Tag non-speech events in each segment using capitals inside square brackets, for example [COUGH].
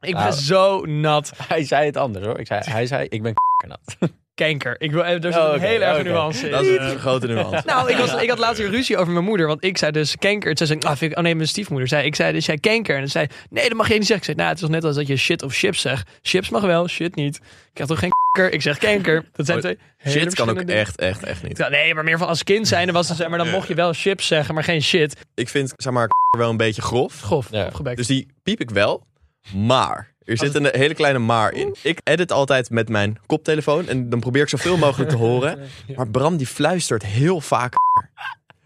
Ik Nou. ben zo nat. [LAUGHS] Hij zei het anders hoor. Ik zei, hij zei, ik ben [LAUGHS] nat. Kanker. Ik wil, eh, er zit Oh, een oké, hele erge oké. nuance in. Dat is een grote nuance. Nou, ik, was, ik had laatst weer ruzie over mijn moeder. Want ik zei dus kanker. Toen zei ik, ah, vind ik, oh nee, mijn stiefmoeder zei. Ik zei dus, jij kanker. En dan zei nee, dat mag je niet zeggen. Ik zei, nou, het is net als dat je shit of chips zegt. Chips mag wel, shit niet. Ik had toch geen kanker. Ik zeg kanker. Dat zijn Oh, twee hele Shit kan ook verschillende echt, echt, echt niet. dingen. Nee, maar meer van als kind zijn. Dan was het, zeg maar dan mocht je wel chips zeggen, maar geen shit. Ik vind, zeg maar, wel een beetje grof. Grof, Ja. opgebekt. Dus die piep ik wel. Maar, er zit een hele kleine maar in. Ik edit altijd met mijn koptelefoon. En dan probeer ik zoveel mogelijk te [LAUGHS] horen. Maar Bram die fluistert heel vaak.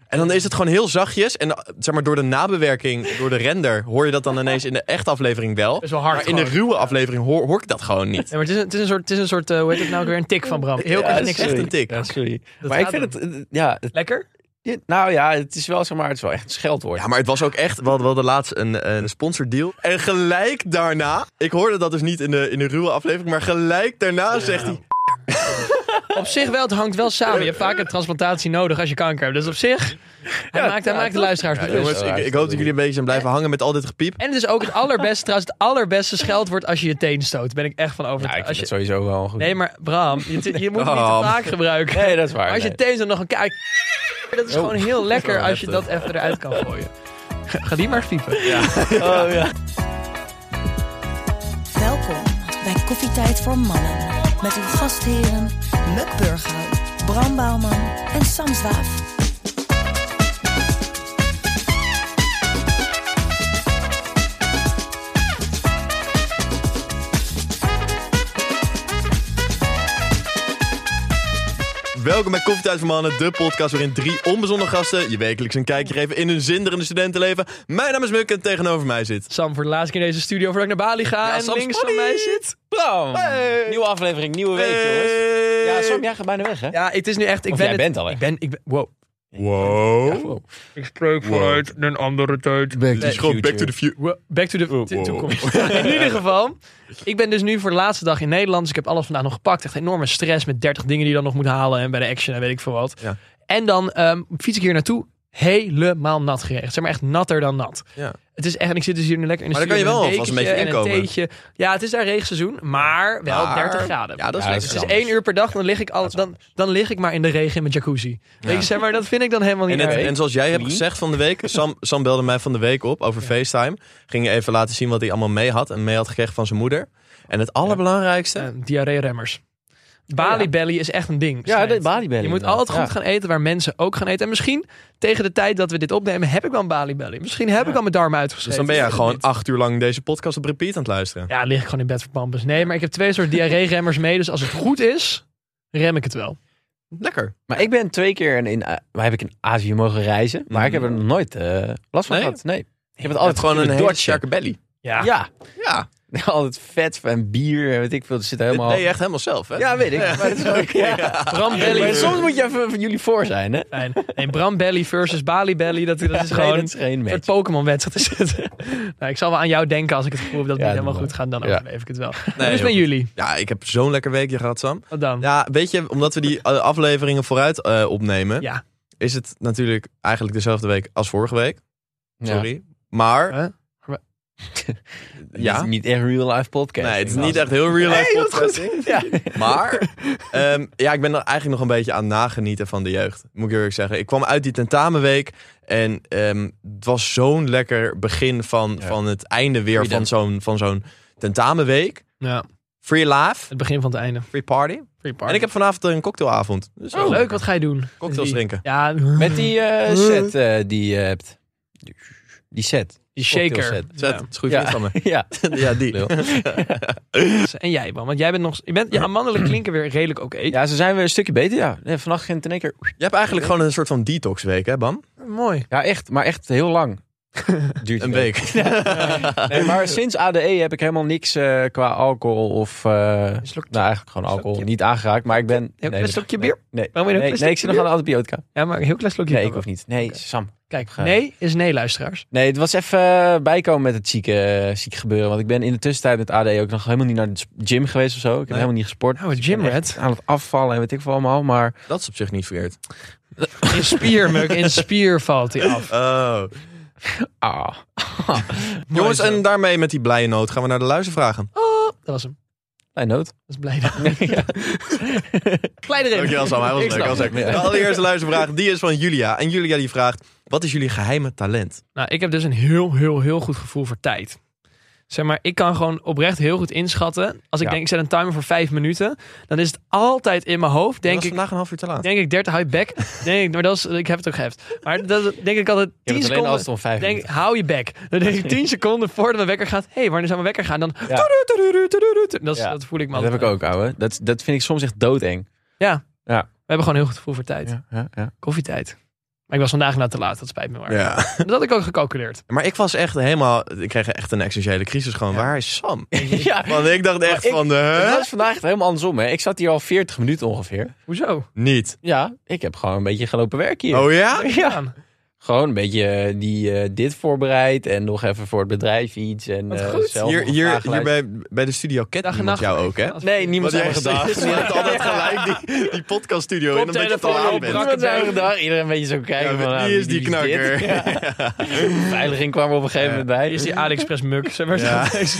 En dan is het gewoon heel zachtjes. En eh, zeg maar, door de nabewerking, door de render, hoor je dat dan ineens in de echte aflevering wel. is wel hard Maar in de gewoon. ruwe aflevering hoor, hoor ik dat gewoon Nee, niet. maar het is, een, het is een soort, het is een soort eh, hoe heet het nou ook weer, een tik van Bram. Heel Ja, erg niks. echt sorry. een tik. Ja, sorry. Dat maar ik gaat vind het, eh, ja, het- Lekker? je- nou ja, het is wel zeg maar, het is wel echt een scheldwoord. Ja, maar het was ook echt, we hadden, we hadden laatst een, een sponsordeal. En gelijk daarna, ik hoorde dat dus niet in de, in de ruwe aflevering, maar gelijk daarna zegt hij... Op zich wel, het hangt wel samen. Je hebt vaak een transplantatie nodig als je kanker hebt. Dus op zich, hij maakt, hij ja, maakt de toch? luisteraars Ja, bewust. jongens, ik, ik hoop dat jullie een beetje zijn blijven hangen met al dit gepiep. En het is ook het allerbeste, trouwens, het allerbeste scheldwoord als je je teen stoot. Daar ben ik echt van Ja, ik overtuigd. vind Als het je- sowieso wel een goed. nee, maar Bram, je, te- je moet het niet te Bram. vaak gebruiken. Nee, dat is waar. als je nee. Oh. teen stoot, nog een kijk. Dat is gewoon heel lekker wel als je dat heftig. even eruit [LAUGHS] kan gooien. Ga ga die maar piepen. Oh, ja. Welkom bij Koffietijd voor Mannen. Met uw gastheren Muk Burghuis, Bram Bouwman en Sam Zwaaf. Welkom bij Koffietijd voor Mannen, de podcast waarin drie onbezonnen gasten je wekelijks een kijkje geven in hun zinderende studentenleven. Mijn naam is Muk en tegenover mij zit... Sam, voor de laatste keer in deze studio voordat ik naar Bali ga. Ja, en Sam links Spotty. van mij zit... Bram! Hey. Nieuwe aflevering, nieuwe week, jongens. Hey. Ja, Sam, jij gaat bijna weg, hè? Ja, het is nu echt... Ik Of ben jij het- bent al weg. Ik ben... Ik ben wow. Wow. Ik spreek vanuit een andere tijd. Het is gewoon back to the future. Wa- Back to the Oh, to- wow. [LAUGHS] toekomst. Nou, In ieder geval, ik ben dus nu voor de laatste dag in Nederland. Dus ik heb alles vandaag nog gepakt. Echt enorme stress met 30 dingen die je dan nog moet halen. En bij de action en weet ik veel wat. Ja. En dan ehm, fiets ik hier naartoe. Helemaal nat geregend. Zeg maar echt natter dan nat. Ja. Het is echt, en ik zit dus hier nu lekker in de Maar dan kan studio je met wel alvast een dekentje beetje en inkomen. theetje. Ja, het is daar regenseizoen, maar wel Maar- 30 graden. Ja, dat is Ja, lekker. het dus is één uur per dag, dan lig ik, al, dan, dan lig ik maar in de regen in mijn jacuzzi. Weet je, zeg maar, dat vind ik dan helemaal niet En, het- erg. en zoals jij hebt Wie? gezegd van de week, Sam, Sam belde mij van de week op over FaceTime. Ging je even laten zien wat hij allemaal mee had en mee had gekregen van zijn moeder. En het allerbelangrijkste, Eh, diarree-remmers. Bali Ehm, Oh ja. belly is echt een ding. Ja, schijnt. de balibelly. Je moet altijd goed gaan eten waar mensen ook gaan eten. En misschien tegen de tijd dat we dit opnemen heb ik wel een Bali belly. Misschien heb ik al mijn darmen dus uitgeschreven. dan ben jij Ik weet gewoon het acht uur lang deze podcast op repeat aan het luisteren. niet. Ja, lig ik gewoon in bed voor pampers. Nee, maar ik heb twee soort diarree-remmers mee. Dus als het goed is, rem ik het wel. Lekker. Maar ik ben twee keer in, in, eh, waar heb ik in Azië mogen reizen, maar ik heb er nog nooit eh, last van Nee? gehad. Nee. Ik heb het Je hebt altijd gewoon een hele dortje. sterke belly. Ja. Ja, [LAUGHS] Ja, altijd vet en bier en weet ik veel. Het zit er dit helemaal... ben je echt helemaal zelf, hè? Ja, weet ik. Maar het is ook- ja. Bram Maar belly. soms moet je even van jullie voor zijn, hè? Fijn. Nee, Bram belly versus Bali belly. Dat, dat is Nee, gewoon dat is geen een match. Pokémon-wedstrijd is het. [LAUGHS] nou, ik zal wel aan jou denken als ik het gevoel heb dat het Ja, niet helemaal doe goed gaat. Dan Ja. overleef ik het wel. heel dus met goed. jullie. Ja, ik heb zo'n lekker weekje gehad, Sam. Wat dan? Ja, weet je, omdat we die eh, afleveringen vooruit eh, opnemen, Ja. is het natuurlijk eigenlijk dezelfde week als vorige week. Sorry. Maar, Huh? Ja. Het [LAUGHS] ja. is niet echt real life podcast. Nee, het is niet echt heel real life podcasting. Ja. Maar ehm, ja, ik ben er eigenlijk nog een beetje aan nagenieten van de jeugd. Moet ik eerlijk zeggen. Ik kwam uit die tentamenweek. En ehm, het was zo'n lekker begin van, Ja. van het einde weer Freedom. van zo'n, van zo'n tentamenweek. ja. Free laugh, Het begin van het einde. free party. Free party. En ik heb vanavond een cocktailavond. Dus Oh, leuk, wat ga je doen? Cocktails Die- drinken. Ja, [LAUGHS] Met die eh, set eh, die je hebt. Die set. die shaker. cocktail set. Zet, Ja. het is goed Ja. vriend van me. [LAUGHS] Ja. Ja, die. Lul. En jij, man, want jij bent nog. Je bent, je amandelen klinken weer redelijk oké. ja, ze zijn weer een stukje beter, ja. Nee, vannacht ging het in één keer... Je hebt eigenlijk gewoon een soort van detoxweek, hè Bam? Mooi. Ja, echt. Maar echt heel [LAUGHS] lang. Duurt Een week. Nee, maar sinds ADE heb ik helemaal niks eh, qua alcohol of... eh, slokje. nou, eigenlijk gewoon alcohol. Slokje. Niet aangeraakt, maar ik ben... klein dat- slokje nee, bier? Nee, wil je nee, een nee, klein ik zit nog slokje aan de antibiotica. Ja, maar een heel klein slokje. Nee, ik ook hoef niet. Nee, Sam. Kijk, Ga- nee is nee, luisteraars. Nee, het was even eh, bijkomen met het zieke, eh, zieke gebeuren. Want ik ben in de tussentijd met AD ook nog helemaal niet naar de gym geweest of zo. Ik heb helemaal niet gesport. Nou, het Dus ik ben gym echt rat. Aan het afvallen en weet ik veel allemaal. Maar Dat is op zich niet verkeerd. In spier, Muk, in spier valt hij af. Oh. Ah. Jongens, en daarmee met die blije noot gaan we naar de luistervragen. Dat was hem. Bij nood. Dat is blij. [LAUGHS] Kleine reden. Dankjewel Sam, hij was Ik leuk. hij was snap leuk. het. De allereerste luistervraag, die is van Julia. En Julia die vraagt, wat is jullie geheime talent? Nou, ik heb dus een heel, heel, heel goed gevoel voor tijd. Zeg maar, ik kan gewoon oprecht heel goed inschatten. Als ik Ja. denk, ik zet een timer voor vijf minuten. Dan is het altijd in mijn hoofd, Denk denk ik. vandaag een half uur te laat. Denk ik 30, hou je bek. Denk ik, maar dat is, ik heb het ook geheft. Maar dat is- denk ik altijd Je 10 hebt het alleen seconden. als het om vijf Denk, minuten. hou je bek. Dan denk ik 10 seconden voordat mijn wekker gaat. Hé, hey, wanneer zou mijn wekker gaan? Dan. Ja. toedoe, toedoe, toedoe, toedoe. Dat, is- Ja. dat voel ik me Dat heb ik ook, ouwe. Dat, dat vind ik soms echt doodeng. Ja. Ja. We hebben gewoon heel goed gevoel voor tijd. ja, ja. Koffietijd. Maar ik was vandaag nou te laat, dat spijt me maar. Ja. Dat had ik ook [LAUGHS] gecalculeerd. Maar ik was echt helemaal, ik kreeg echt een existentiële crisis gewoon. Waar is Sam? Want ik dacht echt ik- van, hè? Dat is vandaag echt helemaal andersom, hè. Ik zat hier al 40 minuten ongeveer. Hoezo? Niet. Ja, ik heb gewoon een beetje gelopen werk hier. Oh ja? Ja. Gewoon een beetje eh, die, eh, dit voorbereid en nog even voor het bedrijf iets. En, Wat eh, goed. zelf Hier, nog een hier, vraag hier luisteren. bij, bij de studio kent Dag en niemand nacht. jou ook, hè? Nee, niemand Want zijn jij gedaan. [LAUGHS] steekt- Je hebt altijd gelijk die, die podcaststudio in, omdat je te Koptelefoon laat op, bent. brak- Niemand zijn gedaan. Iedereen een beetje zo kijken. Ja, van, nou, wie is die dit? [LAUGHS] knakker? Ja. Beveiliging kwam er op een gegeven moment bij. Hier is die AliExpress muk. Zeg maar [LAUGHS] Ja. zo.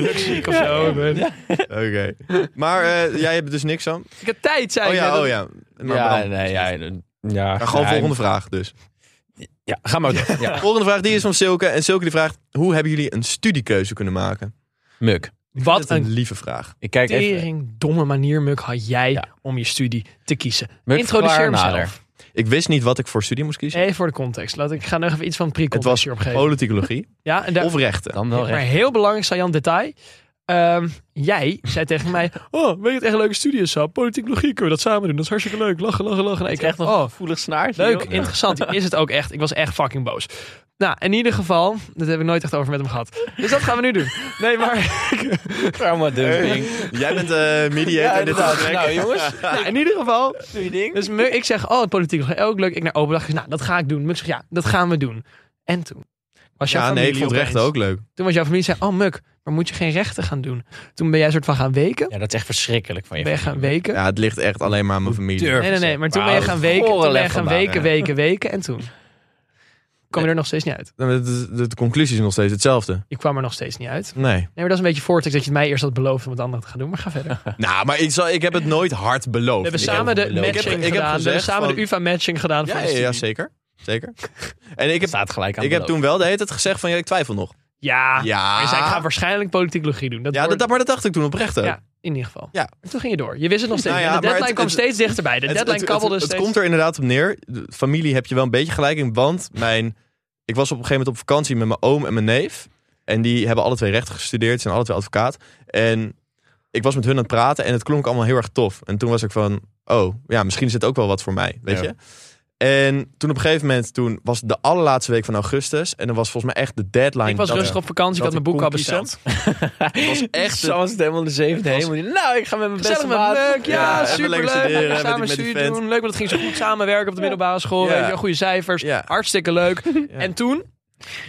Muxiek of zo. Ja. Oké. Maar eh, jij hebt dus niks, Sam? Ik heb tijd, zei Oh ik. ja, net. oh ja. Maar Ja, Bram, nee, ja. ja, ja Maar gewoon ja, volgende vraag dus. Ja, ga maar door. Ja. Volgende vraag die is van Silke. En Silke die vraagt, hoe hebben jullie een studiekeuze kunnen maken? Muk. Wat Dat is een een lieve vraag. Ik kijk even. tering domme manier, Muk, had jij Ja. om je studie te kiezen. Muk, Introduceer verklaar mezelf. Ik wist niet wat ik voor studie moest kiezen. Even voor de context. Laat ik ik ga nog even iets van Het pre-context was hier opgeven. politicologie [LAUGHS] Ja, en daar, of rechten. Dan wel maar recht. heel belangrijk, Sajan, detail. Ehm, jij zei tegen mij, [LAUGHS] oh, weet je het echt een leuke studie is, Sap? Politicologie, kunnen we dat samen doen? Dat is hartstikke leuk. Lachen, lachen, lachen. En ik echt, nog oh, Voelig snaart. leuk, interessant. Is het ook echt. Ik was echt fucking boos. Nou, in ieder geval, dat heb ik nooit echt over met hem gehad. Dus dat gaan we nu doen. Nee, [LAUGHS] maar Trauma dus, dumping. Jij bent eh mediator in dit gesprek. Nou jongens, nou, in ieder geval, doe je ding. Dus Muk- ik zeg, oh, politiek ook leuk. Ik naar open dag, nou, dat ga ik doen. Muk zegt, ja, dat gaan we doen. En toen was jouw Ja, nee, familie ik vond opeens- rechten ook leuk. Toen was jouw familie zei, oh, Muk, maar moet je geen rechten gaan doen? Toen ben jij soort van gaan weken. Ja, dat is echt verschrikkelijk van je. Ben je gaan weken? Ja, het ligt echt alleen maar aan mijn familie. durf nee, nee, nee. Maar toen ben je Wauw, gaan weken, toen gore ben je lef gaan vandaag, weken, hè. weken, weken. En toen kwam je er nog steeds niet uit. Nou, De, de, de conclusie is nog steeds hetzelfde. Ik kwam er nog steeds niet uit. Nee. Nee, maar dat is een beetje voortex dat je het mij eerst had beloofd om het andere te gaan doen. Maar ga verder. Nou, maar ik, zal, ik heb het nooit hard beloofd. We hebben Ik samen de beloofd. matching Ik heb- ik heb gedaan. we hebben gezegd samen de van- UvA-matching gedaan. Ja, van de ja, ja, studie. zeker. Zeker. En ik heb, Staat gelijk aan ik heb toen wel de hele tijd gezegd van, ja, ik twijfel nog. ja. Ja. Ah, Maar zei, ik ga waarschijnlijk politicologie doen. Dat Ja, dat, wordt- dat- maar dat dacht ik toen oprecht ook. Ja, in ieder geval. Ja. En toen ging je door. Je wist het nog steeds. Nou ja, en de maar deadline het- kwam het- steeds dichterbij. De Het- deadline het, kabbelde het, het steeds. komt er inderdaad op neer. De familie heb je wel een beetje gelijk in, want mijn, ik was op een gegeven moment op vakantie met mijn oom en mijn neef. En die hebben alle twee rechten gestudeerd, zijn alle twee advocaat. En ik was met hun aan het praten en het klonk allemaal heel erg tof. En toen was ik van, oh ja, misschien is het ook wel wat voor mij, weet Ja. je. En toen op een gegeven moment, toen was het de allerlaatste week van augustus. En dan was volgens mij echt de deadline. ik was dat- rustig op vakantie. Ik had dat mijn ik boek al kon kiezen. besteld. was echt [LAUGHS] zo was het helemaal de zevende Het was- hemel. Nou, ik ga met mijn Gezellig beste met maat. Leuk, ja, Ja, even lekker superleuk. studeren, Lekker met samen die- met die studie vent. doen. Leuk, want het ging zo goed samenwerken op de middelbare school. Ja. Weet je, wel, goede cijfers. Ja. Hartstikke leuk. [LAUGHS] Ja. En toen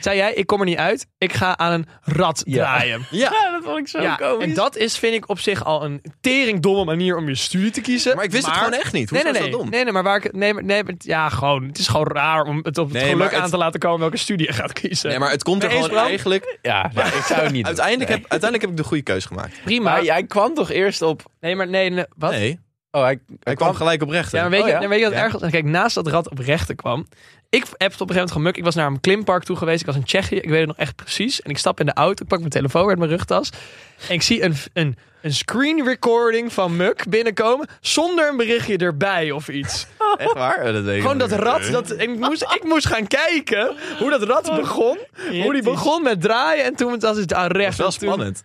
zei jij, ik kom er niet uit. Ik ga aan een rat Ja. draaien. [LAUGHS] Ja, Ja, dat vond ik zo Ja, komisch. en dat is, vind ik op zich al een teringdomme manier om je studie te kiezen. maar ik wist het gewoon echt niet. Nee, Hoezo nee, nee. is dat dom? Nee, nee, maar waar ik. Nee, maar- nee, maar- ja, gewoon. Het is gewoon raar om het op het Nee, geluk maar aan het- te laten komen welke studie je gaat kiezen. Nee, maar het komt er Nee, eens, gewoon Bram. eigenlijk... Ja, nou, ik zou het niet doen. [LAUGHS] Uiteindelijk Nee. heb, uiteindelijk heb ik de goede keuze gemaakt. prima. Maar jij kwam toch eerst op... Nee, maar nee, nee, wat? Nee, hij, Oh, hij, kwam gelijk op rechten. Ja, maar weet Oh, je, ja? maar weet je wat Ja. erg was? En Kijk, naast dat rad op rechten kwam. Ik heb het op een gegeven moment gemuk. Ik was naar een klimpark toe geweest. Ik was in Tsjechië. Ik weet het nog echt precies. En ik stap in de auto. Ik pak mijn telefoon uit mijn rugtas. En ik zie een, een, een screen recording van Muk binnenkomen. Zonder een berichtje erbij of iets. Echt waar? Ja, Dat weet ik Gewoon nog dat niet. rad. Dat, ik, moest, ik moest gaan kijken hoe dat rad begon. Hoe die begon met draaien. En toen was het aan Dat is rechts. wel En toen- spannend.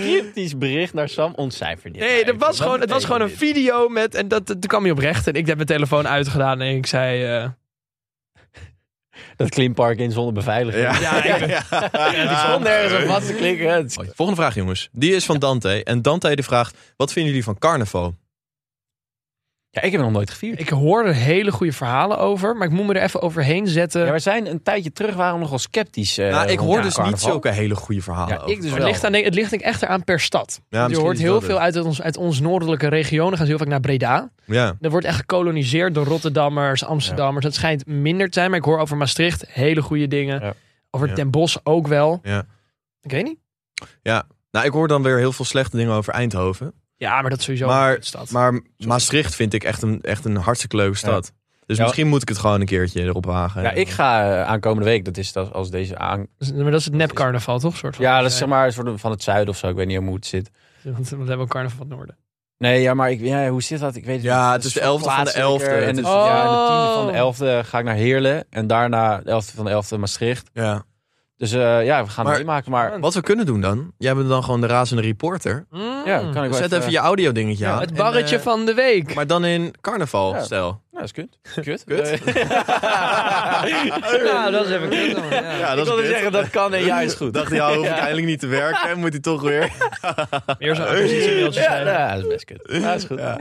Kritisch bericht naar Sam ontcijferd. dit. Nee, Maar dat was even, gewoon, het was betekent gewoon een dit? video met. En dat, dat- toen kwam hij oprecht. En ik heb mijn telefoon uitgedaan. En ik zei. eh, Dat klimpark in zonder beveiliging. Ja. ja, ik- Die stond ergens op wat te klikken. Het is- Volgende vraag, jongens. Die is van Dante. En Dante die vraagt: Wat vinden jullie van carnaval? Ja, ik heb nog nooit gevierd. Ik hoor er hele goede verhalen over, maar ik moet me er even overheen zetten. Ja, we zijn een tijdje terug waren we nogal sceptisch. eh, eh, nou, ik rond hoor ja, dus niet carnaval. zulke hele goede verhalen. Ja, over. ik dus Maar wel. het, Oh, ligt aan, het ligt denk ik echt eraan per stad. Want je misschien hoort is dat heel het. veel uit ons, uit ons noordelijke regionen. Gaan ze heel vaak naar Breda. Ja. Er wordt echt gekoloniseerd door Rotterdammers, Amsterdammers. Het schijnt minder te zijn, maar ik hoor over Maastricht hele goede dingen. Ja. Over Ja. Den Bosch ook wel. Ja. Ik weet niet. Nou, ik hoor dan weer heel veel slechte dingen over Eindhoven. Ja, maar dat is sowieso Maar- een stad. Maar Maastricht vind ik echt een, echt een hartstikke leuke stad. Dus Ja. misschien moet ik het gewoon een keertje erop wagen. Ja, ik ga eh, aankomende week, dat is dat als deze aan... Dus- maar dat is het nepcarnaval, toch? Soort van. Ja, dat is zeg maar een soort van het zuiden of zo. Ik weet niet hoe het zit. Want want we hebben ook carnaval van het noorden. Nee, ja, maar ik, ja, hoe zit dat? Ik weet het Ja, niet. het Dat is de veel 11e van de 11e. plaatselijker. En het, Oh. ja, en de tiende van de elfde ga ik naar Heerlen. En daarna de elfde van de elfde Maastricht. Ja. Dus eh, ja, we gaan Maar- Oh. het meemaken. Maar Wat we kunnen doen dan, jij bent dan gewoon de razende reporter. ja, kan ik wel Zet even je audio dingetje Ja, aan. Mm. Het en, barretje eh, van de week. Maar dan in carnaval, Ja. stel. Nou, dat is kut. Kut. [LAUGHS] Kut? Eh, Ja, dat is even kut dan, ja. ik wilde zeggen, dat kan en ja is goed. Dacht hij, ja, [LAUGHS] hoef ik eindelijk niet te werken. en Moet hij toch weer. Meer zo'n oppositiemailtje Ja, schrijven. nou, dat is best kut. Ja, dat is goed. Ja.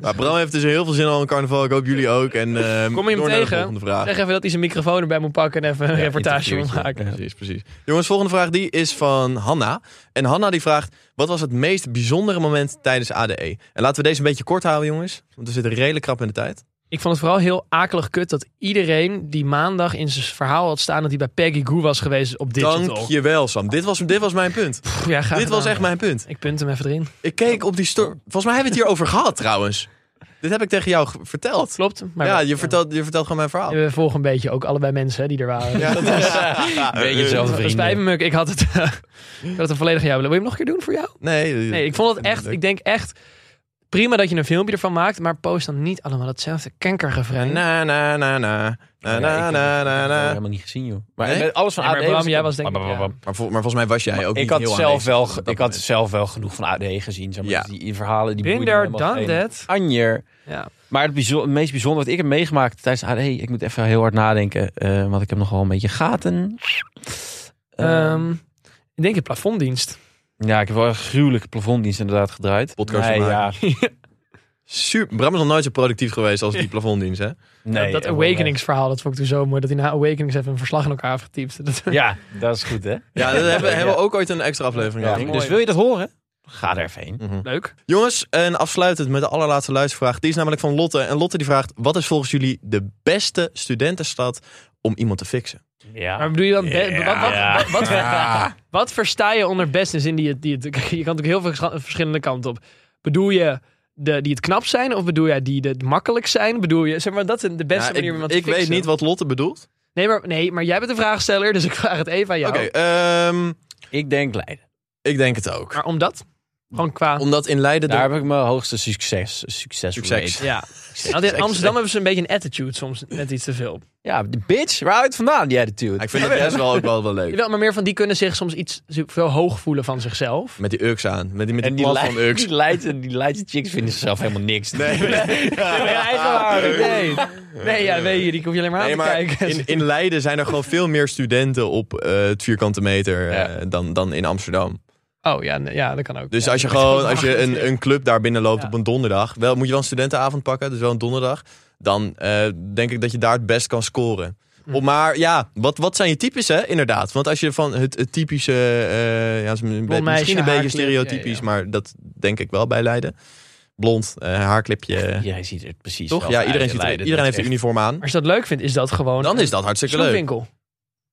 Maar Bram heeft dus heel veel zin al in carnaval. Ik hoop jullie ook. En eh, Kom je hem door naar de tegen? volgende vraag. Zeg even dat hij zijn microfoon erbij moet pakken en even een reportage moet interviewtje. maken. Precies, precies. Jongens, volgende vraag die is van Hanna. En Hanna die vraagt, wat was het meest bijzondere moment tijdens ADE? En laten we deze een beetje kort houden, jongens. Want we zitten redelijk krap in de tijd. Ik vond het vooral heel akelig kut dat iedereen die maandag in zijn verhaal had staan dat hij bij Peggy Goo was geweest op digital. Dank je wel, Sam. Dit was, dit was mijn punt. Pff, ja, graag dit was gedaan. echt mijn punt. Ik punt hem even erin. Ik keek op die story. Volgens mij hebben we het hierover gehad, trouwens. Dit heb ik tegen jou ge- verteld. Klopt. Maar Ja, je vertelt, je vertelt gewoon mijn verhaal. We volgen een beetje ook allebei mensen hè, die er waren. Ja. [LAUGHS] Eh, Beetje hetzelfde Dat vrienden. spijt me, Muk. ik had het, [LAUGHS] eh, ik had het volledig jou willen. Wil je hem nog een keer doen voor jou? Nee, eh, Nee, ik vond het echt, ik denk echt prima dat je een filmpje ervan maakt, maar post dan niet allemaal datzelfde kankergevren. Na, na, na, na. Na, Ja, na, ik heb na, het na, na. helemaal niet gezien, joh. Maar nou, Nee? dus- met alles van Ja, maar AD Bram, was ik- jij was denk ik- Bam, bam, bam, bam. Maar, vol- maar volgens mij was jij ook Ik niet had, heel zelf aanwezig wel, op ge- dat ik had moment. zelf wel genoeg van AD gezien. Zeg maar. Ja. Dus die die verhalen die boeiden me Minder helemaal dan geen dat. Anjer. Ja. Maar het, bijzo- het meest bijzondere wat ik heb meegemaakt tijdens AD... Ik moet even heel hard nadenken, eh, want ik heb nogal een beetje gaten. Eh, Ehm, ik denk het plafonddienst. ja, ik heb wel een gruwelijke plafonddienst inderdaad gedraaid. Podcast nee, ja, maken. Super. Bram is nog nooit zo productief geweest als die plafonddienst, hè? nee, dat eh, Awakenings-verhaal, dat vond ik toen zo mooi. Dat hij na Awakenings even een verslag in elkaar heeft getypt. Dat, Ja, dat is goed, hè? Ja, [LAUGHS] daar hebben, hebben we ook ooit een extra aflevering Ja, over. dus wil je dat horen? Ga er even heen. Mhm. [LAUGHS] Leuk. Jongens, en afsluitend met de allerlaatste luistervraag. Die is namelijk van Lotte. En Lotte die vraagt, wat is volgens jullie de beste studentenstad om iemand te fixen? Maar Ja. bedoel je dan... be- Ja. wat, wat, Ja. Wat, wat, [LAUGHS] wat versta je onder best in zin die het... Die het [LAUGHS] je kan natuurlijk heel veel gescha- verschillende kanten op. Bedoel je de, die het knap zijn? Of bedoel jij die het makkelijk zijn? Bedoel je... Zeg maar, dat is de beste Ja, manier om iemand Nou, ik te ik weet fixen. niet wat Lotte bedoelt. Nee maar, nee, maar jij bent de vraagsteller, dus ik vraag het even aan jou. Oké, ehm, Ik denk Leiden. ik denk het ook. Maar omdat? Gewoon qua... Omdat in Leiden... de- Daar heb ik mijn hoogste succes. Succes. Succes. Ja. Want in Amsterdam hebben ze een beetje een attitude soms net iets te veel. Ja, de bitch, waar houdt het vandaan, die attitude? Ja, ik vind het best wel ook wel, wel leuk. Jawel, maar meer van die kunnen zich soms iets veel hoog voelen van zichzelf. Met die Urks aan. Met die, met en die, die plat Leid- van Urks. die, Leidse, die Leidse chicks vinden zichzelf helemaal niks. [LAUGHS] Nee, nee. [LAUGHS] Nee, nee ja, weet je, die hoef je alleen maar aan Nee, te maar kijken. in, in Leiden zijn er gewoon veel meer studenten op eh, het vierkante meter eh, dan, dan in Amsterdam. Oh ja, nee, ja, dat kan ook. Dus Ja, als je dat gewoon kan als je ook. een, een club daar binnen loopt Ja. op een donderdag, wel, moet je wel een studentenavond pakken, dus wel een donderdag. Dan eh, denk ik dat je daar het best kan scoren. Hm. Op- maar ja, wat, wat zijn je types, hè? Inderdaad. Want als je van het, het typische, eh, ja, is een be- meisje, misschien een beetje haarklip, stereotypisch, ja, ja. maar dat denk ik wel bij Leiden. Blond, eh, haarklipje. Jij ziet het precies. toch? wel Ja, uit, iedereen, ziet er- Leiden, iedereen heeft dat de is uniform aan. Als je dat leuk vindt, is dat gewoon dus Dan een is dat hartstikke leuk. snoepwinkel.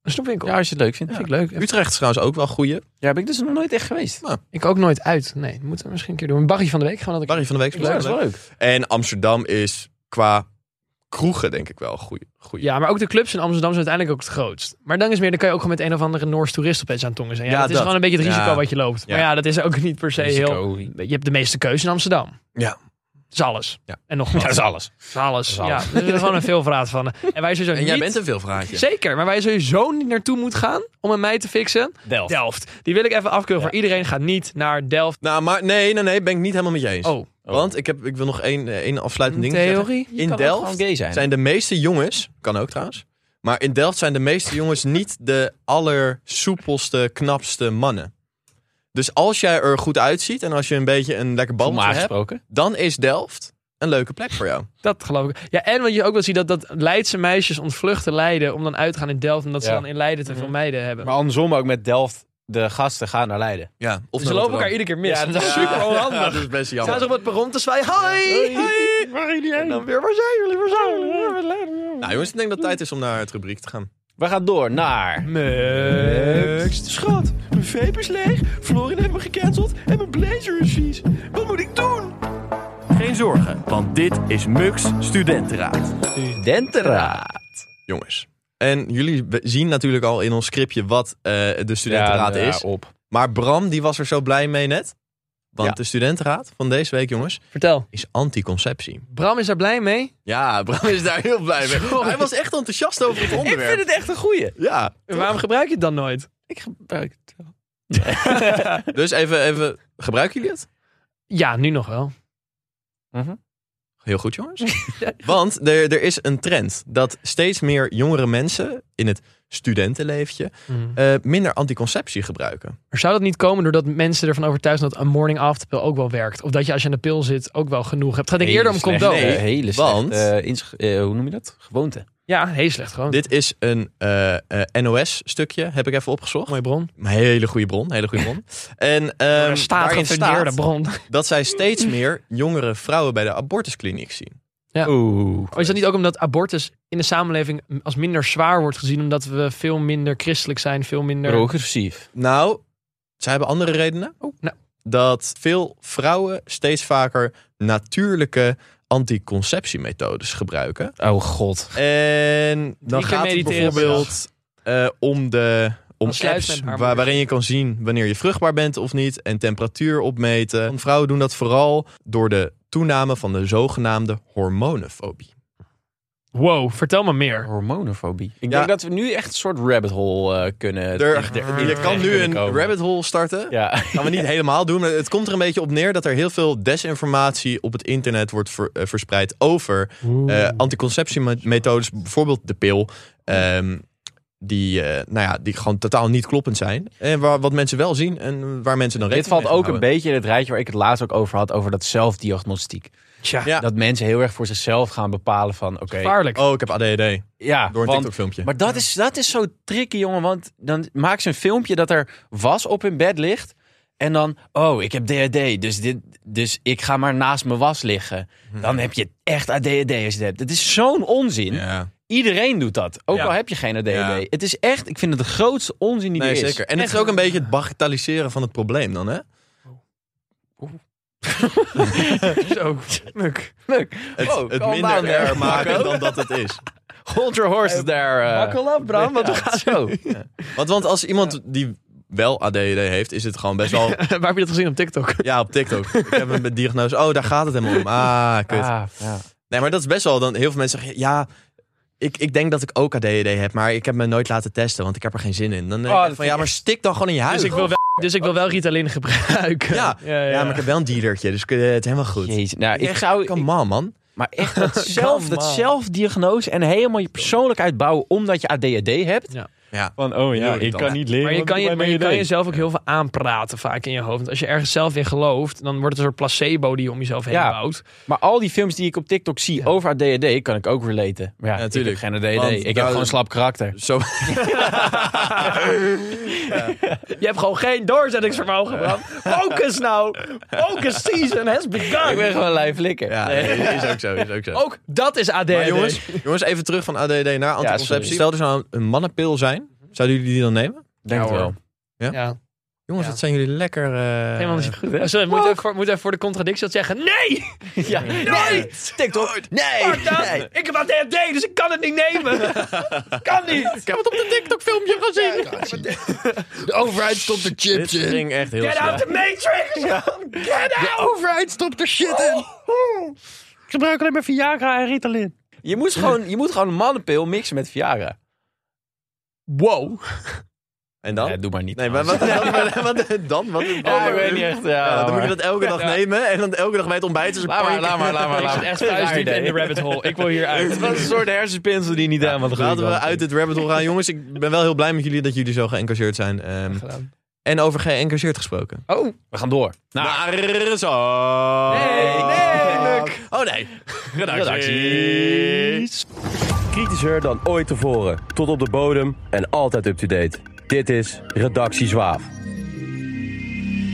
Een snoepwinkel. echt- Ja, als je het leuk vindt. vind Ja. ik leuk. Utrecht is trouwens ook wel een goeie. ben ik dus nog nooit echt geweest. Ik ook nooit uit. Nee, dat moeten we misschien een keer doen. Een barrie van de week gaan we dat een Barry van de Week. is Ja, dat is leuk. wel leuk. En Amsterdam is qua kroegen denk ik wel goed. keer- Ja, maar ook de clubs in Amsterdam zijn uiteindelijk ook het grootst. Maar dan is meer, dan kan je ook gewoon met een of andere Noors toerist opeens aan tongen zijn. Ja, Ja, dat, is dat. gewoon een beetje het risico Ja. wat je loopt. Maar Ja. ja, dat is ook niet per se heel... Risico. Je hebt de meeste keuze in Amsterdam. Ja. Dat is alles. Ja. En nog wat. Ja, dat is alles. Dat is alles. Dat is alles. Ja, er is gewoon een veelvraat van. En wij sowieso [LAUGHS] En jij niet- bent een veelvraatje. Zeker, maar waar je sowieso niet naartoe moet gaan om een mij te fixen, Delft. Delft. Die wil ik even afkeuren, voor iedereen gaat niet naar Delft. Nou, maar nee, nee, nee, ben ik niet helemaal met je eens. Oh, Want ik, heb, ik wil nog één, eh, één afsluitend ding zeggen. theorie? In Delft Gewoon gay zijn. zijn de meeste jongens, kan ook trouwens, maar in Delft zijn de meeste jongens niet de allersoepelste, knapste mannen. Dus als jij er goed uitziet en als je een beetje een lekker Normaal balletje hebt, gesproken. dan is Delft een leuke plek voor jou. Dat geloof ik. Ja, en wat je ook wel ziet, dat, dat Leidse meisjes ontvluchten Leiden om dan uit te gaan in Delft. Omdat ze Ja. dan in Leiden te veel meiden hebben. Maar andersom ook met Delft, de gasten gaan naar Leiden. Ja, of ze naar Dus lopen Rotterdam. elkaar iedere keer mis. Ja, dat is super Ja, onhandig. dat is best Ze jammer. Staan ze op het perron te zwaaien. Hoi! Hoi! Waar jullie heen? dan weer, waar zijn jullie? Waar zijn jullie? Nou jongens, ik denk dat het tijd is om naar het rubriek te gaan. We gaan door naar... Next. Schat, mijn vape is leeg. Florin heeft me gecanceld. En mijn blazer is vies. Wat moet ik doen? Geen zorgen, want dit is Mux Studentenraad. Denteraad. Jongens. En jullie we- zien natuurlijk al in ons scriptje wat eh, de studentenraad Ja, is. ja, op. Maar Bram, die was er zo blij mee net. Want Ja. de studentenraad van deze week, jongens, Vertel. is anticonceptie. Bram is daar blij mee. Ja, Bram is daar heel blij mee. Sorry. Hij was echt enthousiast over het Ik vind onderwerp. het echt een goeie. Ja, En waarom gebruik je het dan nooit? Ik gebruik het wel. dus even, even, gebruiken jullie het? Ja, nu nog wel. Heel [LAUGHS] goed, jongens. Want er, er is een trend dat steeds meer jongere mensen in het studentenleeftje Mhm. eh, minder anticonceptie gebruiken. Maar zou dat niet komen doordat mensen ervan overtuigd zijn dat een morning after pill ook wel werkt? Of dat je als je aan de pil zit ook wel genoeg hebt? Het gaat denk ik eerder om condoom. nee. hele want- slechte, eh, ins- eh, hoe noem je dat? Gewoonte. Ja, heel slecht gewoon. Dit is een eh, eh, NOS-stukje, heb ik even opgezocht. Mooie bron. Een hele goede bron, hele goede [LAUGHS] bron. En ehm, Er staat daarin gefundeerde staat bron. dat zij steeds meer jongere vrouwen bij de abortuskliniek zien. Oeh. Oh, is dat niet ook omdat abortus in de samenleving als minder zwaar wordt gezien? Omdat we veel minder christelijk zijn, veel minder... Progressief. Nou, zij hebben andere redenen. nou. Dat veel vrouwen steeds vaker natuurlijke anticonceptiemethodes gebruiken. Oh god. En dan keer gaat het mediteren per bijvoorbeeld eh, om de om Dan sluit apps men haar waar- moeder. waarin je kan zien wanneer je vruchtbaar bent of niet en temperatuur opmeten. Want vrouwen doen dat vooral door de toename van de zogenaamde hormonenfobie. Wow, vertel me meer. Hormonofobie. Ik Ja. denk dat we nu echt een soort rabbit hole eh, kunnen. echt- echt- je echt kan nu kunnen een komen. rabbit hole starten. [LAUGHS] Ja. Gaan we niet helemaal doen, maar het komt er een beetje op neer dat er heel veel desinformatie op het internet wordt ver- eh, verspreid over eh anticonceptiemethodes, bijvoorbeeld de pil, ehm, die, eh, nou ja, die gewoon totaal niet kloppend zijn. En waar, wat mensen wel zien en waar mensen dan Dit rekening valt ook mee een gaan houden. beetje in het rijtje waar ik het laatst ook over had, over dat zelfdiagnostiek. Tja, Ja. Dat mensen heel erg voor zichzelf gaan bepalen van, oké, gevaarlijk. Oh, ik heb ADHD. ja, Door een want- TikTok-filmpje. Maar dat is, dat is zo tricky, jongen. Want dan maakt ze een filmpje dat er was op hun bed ligt. En dan, oh, ik heb DHD, dus, dit, dus ik ga maar naast mijn was liggen. Dan heb je echt ADHD als je het hebt. Het is zo'n onzin. Hmm. Ja, Iedereen doet dat. Ook Ja. al heb je geen ADHD. Ja. Het is echt, ik vind het de grootste onzin die nee, er is. zeker. En het is ook een beetje het bagatelliseren van het probleem dan, hè? [LAUGHS] Zo, [LAUGHS] muk. Het, Wow, het Oh, calm minder down there, erg maken [LAUGHS] Marco. dan dat het is. Hold your horses there. eh. [LAUGHS] up, Bram. Ja, zo. Want, want als iemand die wel ADHD heeft, is het gewoon [LAUGHS] best wel... Waar heb je dat gezien op TikTok? Ja, op TikTok. Ik heb een diagnose. Oh, daar gaat het helemaal om. Ah, kut. Ah, ja. Nee, maar dat is best wel. Dan heel veel mensen zeggen, ja, ik, ik denk dat ik ook ADHD heb, maar ik heb me nooit laten testen, want ik heb er geen zin in. Dan denk Oh, ik dat van, vind ja, ik maar stik dan gewoon in je huis. Dus ik wil wel, dus ik wil wel Ritalin gebruiken. ja. Ja, maar ik heb wel een dealertje, dus ik- eh, het is helemaal goed. Jezus. Nou, ik Echt, zou, Come on, man. Maar echt dat, zelf, Come dat on. zelfdiagnose en helemaal je persoonlijkheid bouwen omdat je ADHD hebt. Ja. Ja. Van, oh ja, ik kan niet leren. Maar je, kan je, maar je kan jezelf ook heel veel aanpraten vaak in je hoofd. Want als je ergens zelf in gelooft, dan wordt het een soort placebo die je om jezelf heen Ja. bouwt. Maar al die films die ik op TikTok zie over ADHD, kan ik ook relaten. Maar ja, Ja, natuurlijk. tuurlijk. Ik heb geen Want Dus- ADHD. Ik heb daar- gewoon een slap karakter. Zo, Je hebt gewoon geen doorzettingsvermogen, Bram. Focus nou! Focus season has Ik begun! ben gewoon lijf likker. ja, Nee. nee, is ook zo, is ook zo. Ook dat is ADHD. maar jongens, jongens, even terug van ADHD naar anticonceptie. sorry. Stel er zou een mannenpil zijn, zouden jullie die dan nemen? Denk Ja, het wel. hoor. Ja. Jongens, Ja. dat zijn jullie lekker... eh, Helemaal niet goed. hè? Sorry, moet, ik voor, moet even voor de contradictie dat zeggen. Nee! Ja. Nee! TikTok. Nee. Fuck dat! Ik heb ADHD, dus ik kan het niet nemen. kan niet! Ik heb het op de TikTok-filmpje gezien. De overheid stopt er Dit chips in. ging echt heel Get out slecht. the matrix! Get out! Oh. overheid stopt er shit in. Je moet gewoon, je moet gewoon een mannenpil mixen met Viagra. Wow. En dan? Ja, doe maar niet. Nee, maar wat, [LAUGHS] wat, wat- wat- dan? Wat, Ja, ik weet niet echt. Ja, Ja, laat dan moet maar. je dat elke dag nemen en dan elke dag bij het ontbijt. Dus Laat maar, laat maar, [LAUGHS] laat maar. Ik laat zit maar. echt thuisdiep in de ADHD. rabbit hole. Ik wil hier uit. Dat is een soort hersenspinsel die niet helemaal de goede Laten we kant uit is. dit rabbit hole gaan. Jongens, ik ben wel heel blij met jullie dat jullie zo geëngageerd zijn. Ehm, en over geëngageerd gesproken. Oh. We gaan door. Nou, Naar zo. Nee, nee, Tuurlijk. Oh nee. Redacties. Kritischer dan ooit tevoren. Tot op de bodem en altijd up-to-date. Dit is Redactie Zwaaf.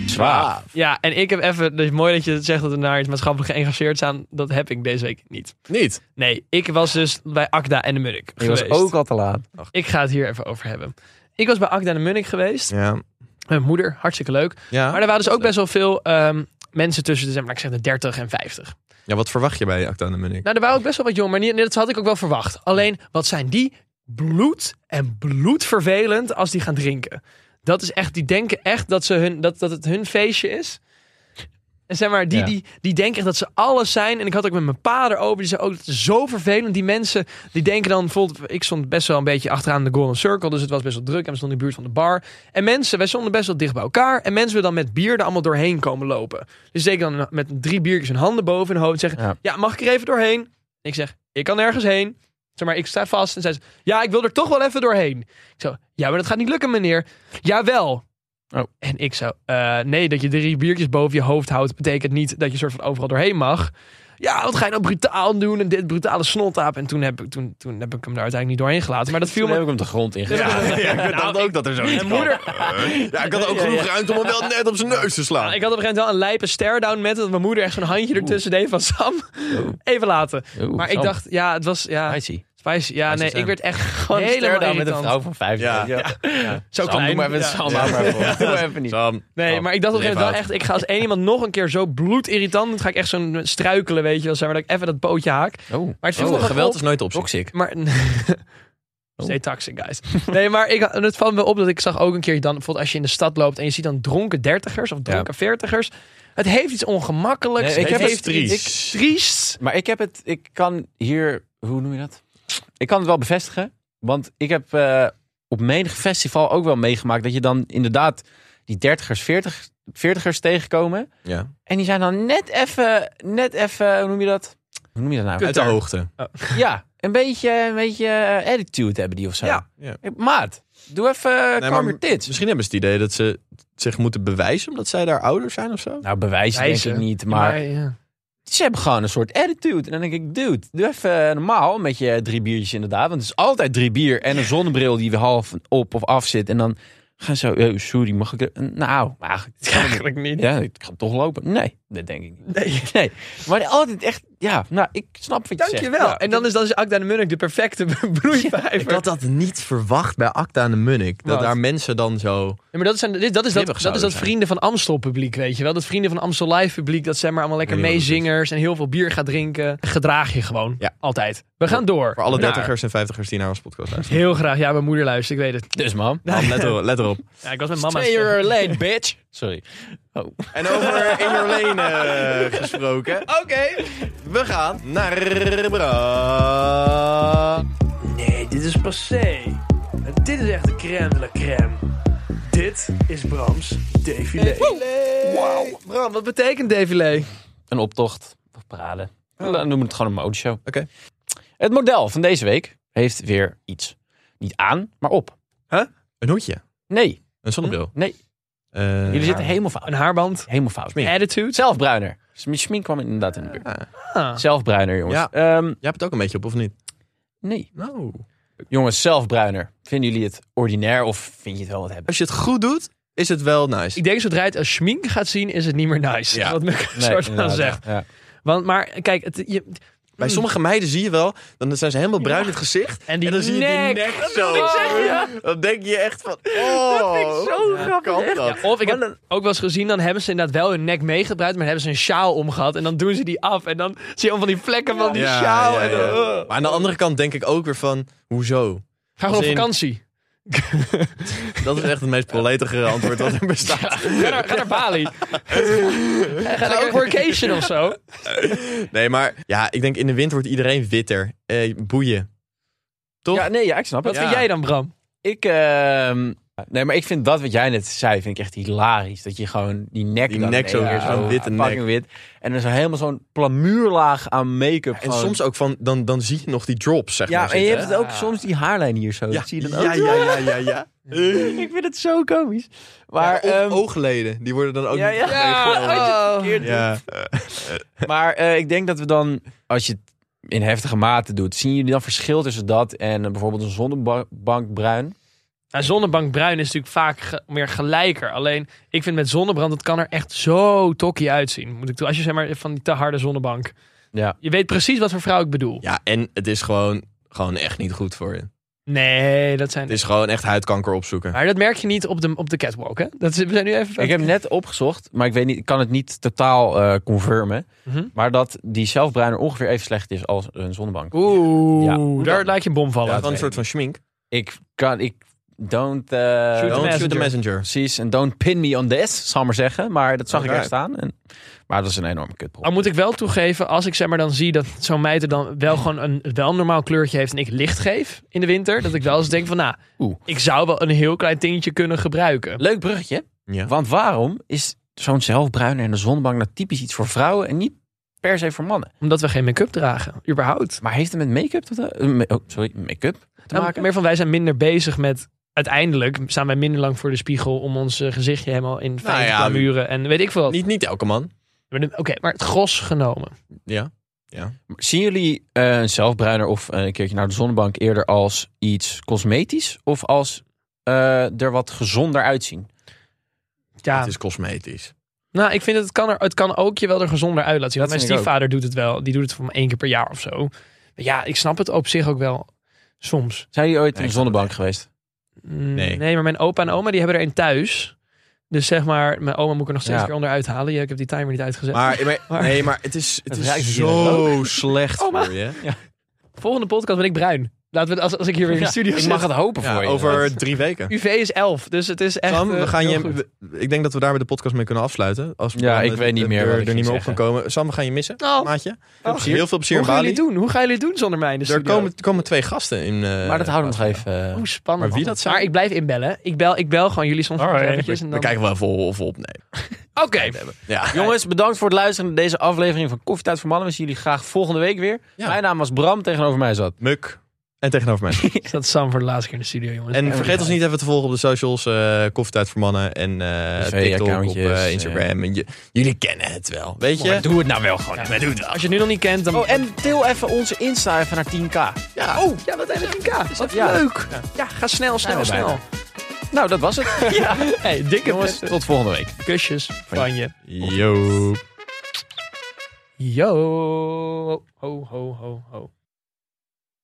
Zwaar. Ja, en ik heb even... Dus mooi dat je zegt dat we naar iets maatschappelijk geëngageerd zijn. Dat heb ik deze week niet. Niet. Nee, ik was dus bij Akda en de Munnik Je was geweest. ook al te laat. Ik ga het hier even over hebben. Ik was bij Akda en de Munnik geweest. Ja. Mijn moeder, hartstikke leuk. Ja. Maar er waren dus ook best wel veel ehm, mensen tussen de, zeg maar, ik zeg de 30 en 50. ja, wat verwacht je bij Acta en de Munnik? Nou, er waren ook best wel wat jong, maar niet, dat had ik ook wel verwacht. Alleen, wat zijn die bloed en bloedvervelend als die gaan drinken? Dat is echt, die denken echt dat, ze hun, dat, dat het hun feestje is. En zeg maar, die, Ja. die, die denken echt dat ze alles zijn. En ik had ook met mijn pa erover, die zei ook, dat is zo vervelend. Die mensen, die denken dan, bijvoorbeeld, ik stond best wel een beetje achteraan de Golden Circle, dus het was best wel druk. En we stonden in de buurt van de bar. En mensen, wij stonden best wel dicht bij elkaar. En mensen willen dan met bier er allemaal doorheen komen lopen. Dus zeker dan met drie biertjes hun handen boven hun hoofd zeggen, Ja. ja, mag ik er even doorheen? Ik zeg, ik kan nergens heen. Zeg maar, ik sta vast. En zij zegt, ja, ik wil er toch wel even doorheen. Ik zo, ja, maar dat gaat niet lukken, meneer. Jawel. Oh. En ik zo, "Eh, nee, dat je drie biertjes boven je hoofd houdt... betekent niet dat je soort van overal doorheen mag. Ja, wat ga je nou brutaal doen? En dit brutale snottaap. En toen heb, ik, toen, toen heb ik hem daar uiteindelijk niet doorheen gelaten. Maar dat viel Toen heb me... ik hem de grond ingegaan. [LAUGHS] [LAUGHS] Ja, ik Nou, dacht ook dat er zo Mijn moeder, Ja, ik had ook genoeg ruimte om hem wel net op zijn neus te Nou, slaan. ik had op een gegeven moment wel een lijpe stare down met... dat mijn moeder echt zo'n handje ertussen deed van Sam. [LAUGHS] Even laten. Oeh, Maar ik Sam. dacht, ja, het was... Ja, Spicy. Spicy. Ja, nee, Sam. ik werd echt Gewoon helemaal helemaal met een irritant. vrouw van 50. Ja. Zo Sam, klein. Doe maar even Ja. Sam, hou maar even op. [LAUGHS] Doe maar even niet. Sam. Nee, Oh, maar ik dacht op een gegeven moment wel leefhoud. echt... Ik ga als één iemand nog een keer zo bloedirritant... dan ga ik echt zo'n struikelen, weet je wel. Zeg maar dat ik even dat bootje haak. Oh, Maar het viel me Oh, wel geweld op. is nooit de optie. toxic. Maar... [LAUGHS] Stay toxic, guys. Nee, maar ik, en het valt me op dat ik zag ook een keer dan... Bijvoorbeeld als je in de stad loopt en je ziet dan dronken dertigers of dronken veertigers. Het heeft iets ongemakkelijks. Nee, ik het heb heeft het iets triest. triest. Maar ik heb het, ik kan hier, hoe noem je dat? Ik kan het wel bevestigen, want ik heb eh, op menig festival ook wel meegemaakt dat je dan inderdaad die dertigers, veertigers, veertigers tegenkomen. Ja. En die zijn dan net even, net even, hoe noem je dat? Hoe noem je dat nou? Uit de hoogte. Ja, een beetje, een beetje eh, attitude hebben die of zo. Ja. Ja. Maat, doe even, eh, Nee, nee, maar je dit. Misschien hebben ze het idee dat ze zich moeten bewijzen omdat zij daar ouder zijn of zo. Nou, bewijzen denk Wijzen. ik niet, maar ja. ze hebben gewoon een soort attitude. En dan denk ik, dude, doe even eh, normaal met je drie biertjes inderdaad. Want het is altijd drie bier en een zonnebril die weer half op of af zit. En dan gaan ze zo, eh, sorry, mag ik... er- Nou, eigenlijk, Eigenlijk niet. [LAUGHS] ja, ik ga toch lopen. Nee, dat denk ik niet. Nee. Maar altijd echt, ja, nou, ik snap wat je zegt. Dankjewel. En dan is, dan is Akda de Munnik de perfecte [LAUGHS] broeivijver. Ik had dat niet verwacht bij Acta en de Munnik. Dat Wat? daar mensen dan zo... Ja, maar dat, zijn, dit, dat is dat, Knippig dat, is zouden dat zijn. vrienden van Amstel publiek, weet je wel. Dat vrienden van Amstel live publiek, dat zijn maar allemaal lekker Ik weet niet wat het meezingers en heel veel bier gaat drinken. Gedraag je gewoon. Ja. Altijd. We gaan door. Voor alle Naar- dertigers en vijftigers die naar ons podcast luisteren. Heel graag. Ja, mijn moeder luistert, ik weet het. Dus man, Man, let, erop, let erop. Ja, ik was met mama. twee uur late, bitch. [LAUGHS] Sorry. [LAUGHS] En over In Your Lane eh, gesproken. Oké. We gaan naar... Bra- Nee, dit is passé. Dit is echt de crème de la crème. Dit is Brams défilé. Wauw. Bram, wat betekent défilé? Een optocht of parade. Dan noemen we het gewoon een modeshow. Oh. Oké. Het model van deze week heeft weer iets. Niet aan, maar op. Een hoedje. Nee, Een zonnebril. nee. Eh, Jullie zitten helemaal fout. Een haarband. Helemaal fout. Attitude. Zelfbruiner. Smink kwam inderdaad in de buurt. Ah. Zelfbruiner, jongens. Ja. Ehm, Jij hebt het ook een beetje op, of niet? nee. Nou. Jongens, zelfbruiner. Vinden jullie het ordinair of vind je het wel wat hebben? Als je het goed doet, is het wel nice. Ik denk zodra je het als schmink gaat zien, is het niet meer nice. Ja. Wat me [LAUGHS] soort van inderdaad, zegt. ja. Want, maar kijk, het, je, Hmm. Bij sommige meiden zie je wel, dan zijn ze helemaal bruin in het gezicht. En die dan zie je nek. die nek zo. Oh, [LAUGHS] Dan denk je echt van, vind oh, ik zo hoe kan dat? Of ik heb ook wel eens gezien, dan hebben ze inderdaad wel hun nek meegebruikt, maar dan hebben ze een sjaal omgehad en dan doen ze die af. En dan zie je allemaal van die vlekken van die Ja, sjaal. ja, en dan, ja. uh. Maar eh. aan de andere kant denk ik ook weer van, hoezo? Ga gewoon op Als in- vakantie. Dat is echt het meest proletigere antwoord wat [LAUGHS] er bestaat. Ga naar, ga naar Bali. ga naar ook workation of zo. Nee, maar ja, ik denk in de wind wordt iedereen witter. Eh, boeien. Toch? Ja, nee, ja, ik snap Wat het. Ja. vind jij dan, Bram? Ik, ehm, Nee, maar ik vind dat wat jij net zei, vind ik echt hilarisch. Dat je gewoon die nek... Die dan- nek zo weer, zo'n witte fucking nek. wit. En dan zo helemaal zo'n plamuurlaag aan make-up. En gewoon. soms ook van, dan, dan zie je nog die drops, zeg Ja, maar. en je zitten. hebt het ook soms die haarlijn hier zo. ja, Dat zie je dan ook. ja, ja, ja, [LAUGHS] ja, ja. Ik vind het zo komisch. Maar Maar, ehm, oogleden, die worden dan ook ja, niet- ja. Oh. Ja. Maar eh, ik denk dat we dan, als je het in heftige mate doet, zien jullie dan verschil tussen dat en eh, bijvoorbeeld een zonnebank bruin? Nou, zonnebank bruin is natuurlijk vaak ge- meer gelijker. Alleen, ik vind met zonnebrand, het kan er echt zo tokkie uitzien. Moet ik doen. Als je zeg maar van die te harde zonnebank. Ja. Je weet precies wat voor vrouw ik bedoel. Ja, en het is gewoon, gewoon echt niet goed voor je. Nee, dat zijn... Het is gewoon echt huidkanker opzoeken. Maar dat merk je niet op de, op de catwalk, hè? Dat is, we zijn nu even... Ik heb net opgezocht, maar ik weet niet, ik kan het niet totaal eh, confirmen. Mhm. Maar dat die zelfbruiner ongeveer even slecht is als een zonnebank. Oeh, Ja. daar laat je een bom vallen. Ja, dan een soort van schmink. Ik kan, ik don't. eh, the Don't shoot the messenger. messenger. Precies, en don't pin me on this, zal ik maar zeggen. Maar dat zag ik Alright. echt staan. En, maar dat is een enorme kutprop. Al moet ik wel toegeven, als ik zeg maar dan zie dat zo'n meid er dan wel gewoon een wel een normaal kleurtje heeft en ik licht geef in de winter, dat ik wel eens denk van, nou, Oeh. ik zou wel een heel klein tintje kunnen gebruiken. Leuk bruggetje. Ja. Want waarom is zo'n zelfbruiner en de zonnebank nou typisch iets voor vrouwen en niet per se voor mannen? Omdat we geen make-up dragen, überhaupt. Maar heeft het met make-up te eh, ma- oh, sorry, make-up te Nou, maken? meer van wij zijn minder bezig met, uiteindelijk staan wij minder lang voor de spiegel om ons eh, gezichtje helemaal in fijn Nou ja, te plamuren en weet ik veel wat. Niet, niet elke man. Oké, maar het gros genomen. Ja. Zien jullie eh, een zelfbruiner of eh, een keertje naar de zonnebank eerder als iets cosmetisch of als eh, er wat gezonder uitzien? Ja, Het is cosmetisch. nou, ik vind dat het kan, er, het kan ook je wel er gezonder uit laten zien. Want Dat mijn vind ik ook. stiefvader doet het wel. Die doet het voor me één keer per jaar of zo. Maar ja, ik snap het op zich ook wel soms. Zijn jullie ooit in ik de zonnebank geweest? Mm, Nee. maar mijn opa en oma die hebben er een thuis. Dus zeg maar, mijn oma moet ik er nog steeds Ja. weer onderuit halen. Ja, ik heb die timer niet uitgezet. Maar, maar- nee, maar het is, het Het is ruikt hier zo [LAUGHS] slecht voor je. Volgende podcast ben ik bruin. Laten we het- als, als ik hier weer in de studio ik zit. mag het hopen Ja, voor je. over drie weken. UV is 11, dus het is echt... Sam, we eh, gaan heel je, goed. we- ik denk dat we daar bij de podcast mee kunnen afsluiten. Als we Ja, dan ik het- weet niet het- meer er, wat er ik niet ging meer op zeggen. gaan komen. Sam, we gaan je missen, Oh. maatje. Oh. Heel veel Hoe plezier gaan in jullie Bali. het doen? Hoe gaan jullie het doen zonder mij in de Er studio? komen, komen twee gasten in. eh, maar dat houden we nog even. eh, Hoe spannend. Maar wie dat zijn? Maar ik blijf inbellen. Ik bel, ik bel gewoon jullie soms nog eventjes. en We dan- kijken wel even of we opnemen. Oké. Ja. Jongens, bedankt voor het luisteren naar deze aflevering van Koffietijd voor Mannen. We zien jullie graag volgende week weer. Ja. Mijn naam was Bram, tegenover mij zat. Muk. En tegenover mij. Is Dus dat Sam voor de laatste keer in de studio, jongens? En vergeet ons niet even te volgen op de socials. eh Koffietijd voor mannen. En eh, TikTok op accountjes, eh, Instagram. En je- jullie kennen het wel. Weet je? Doe het nou wel gewoon. Ja, Als je het nu nog niet kent, dan... Oh, en til even onze Insta even naar 10k. Ja. Oh, Ja, wat eigenlijk k Is dat Ja. leuk? Ja, ga snel, snel, we snel. bijna. Nou, dat was het. [LAUGHS] Ja. Hey, dikke Jongens, vetten tot volgende week. kusjes van je. Yo. Yo. Ho, ho, ho, ho.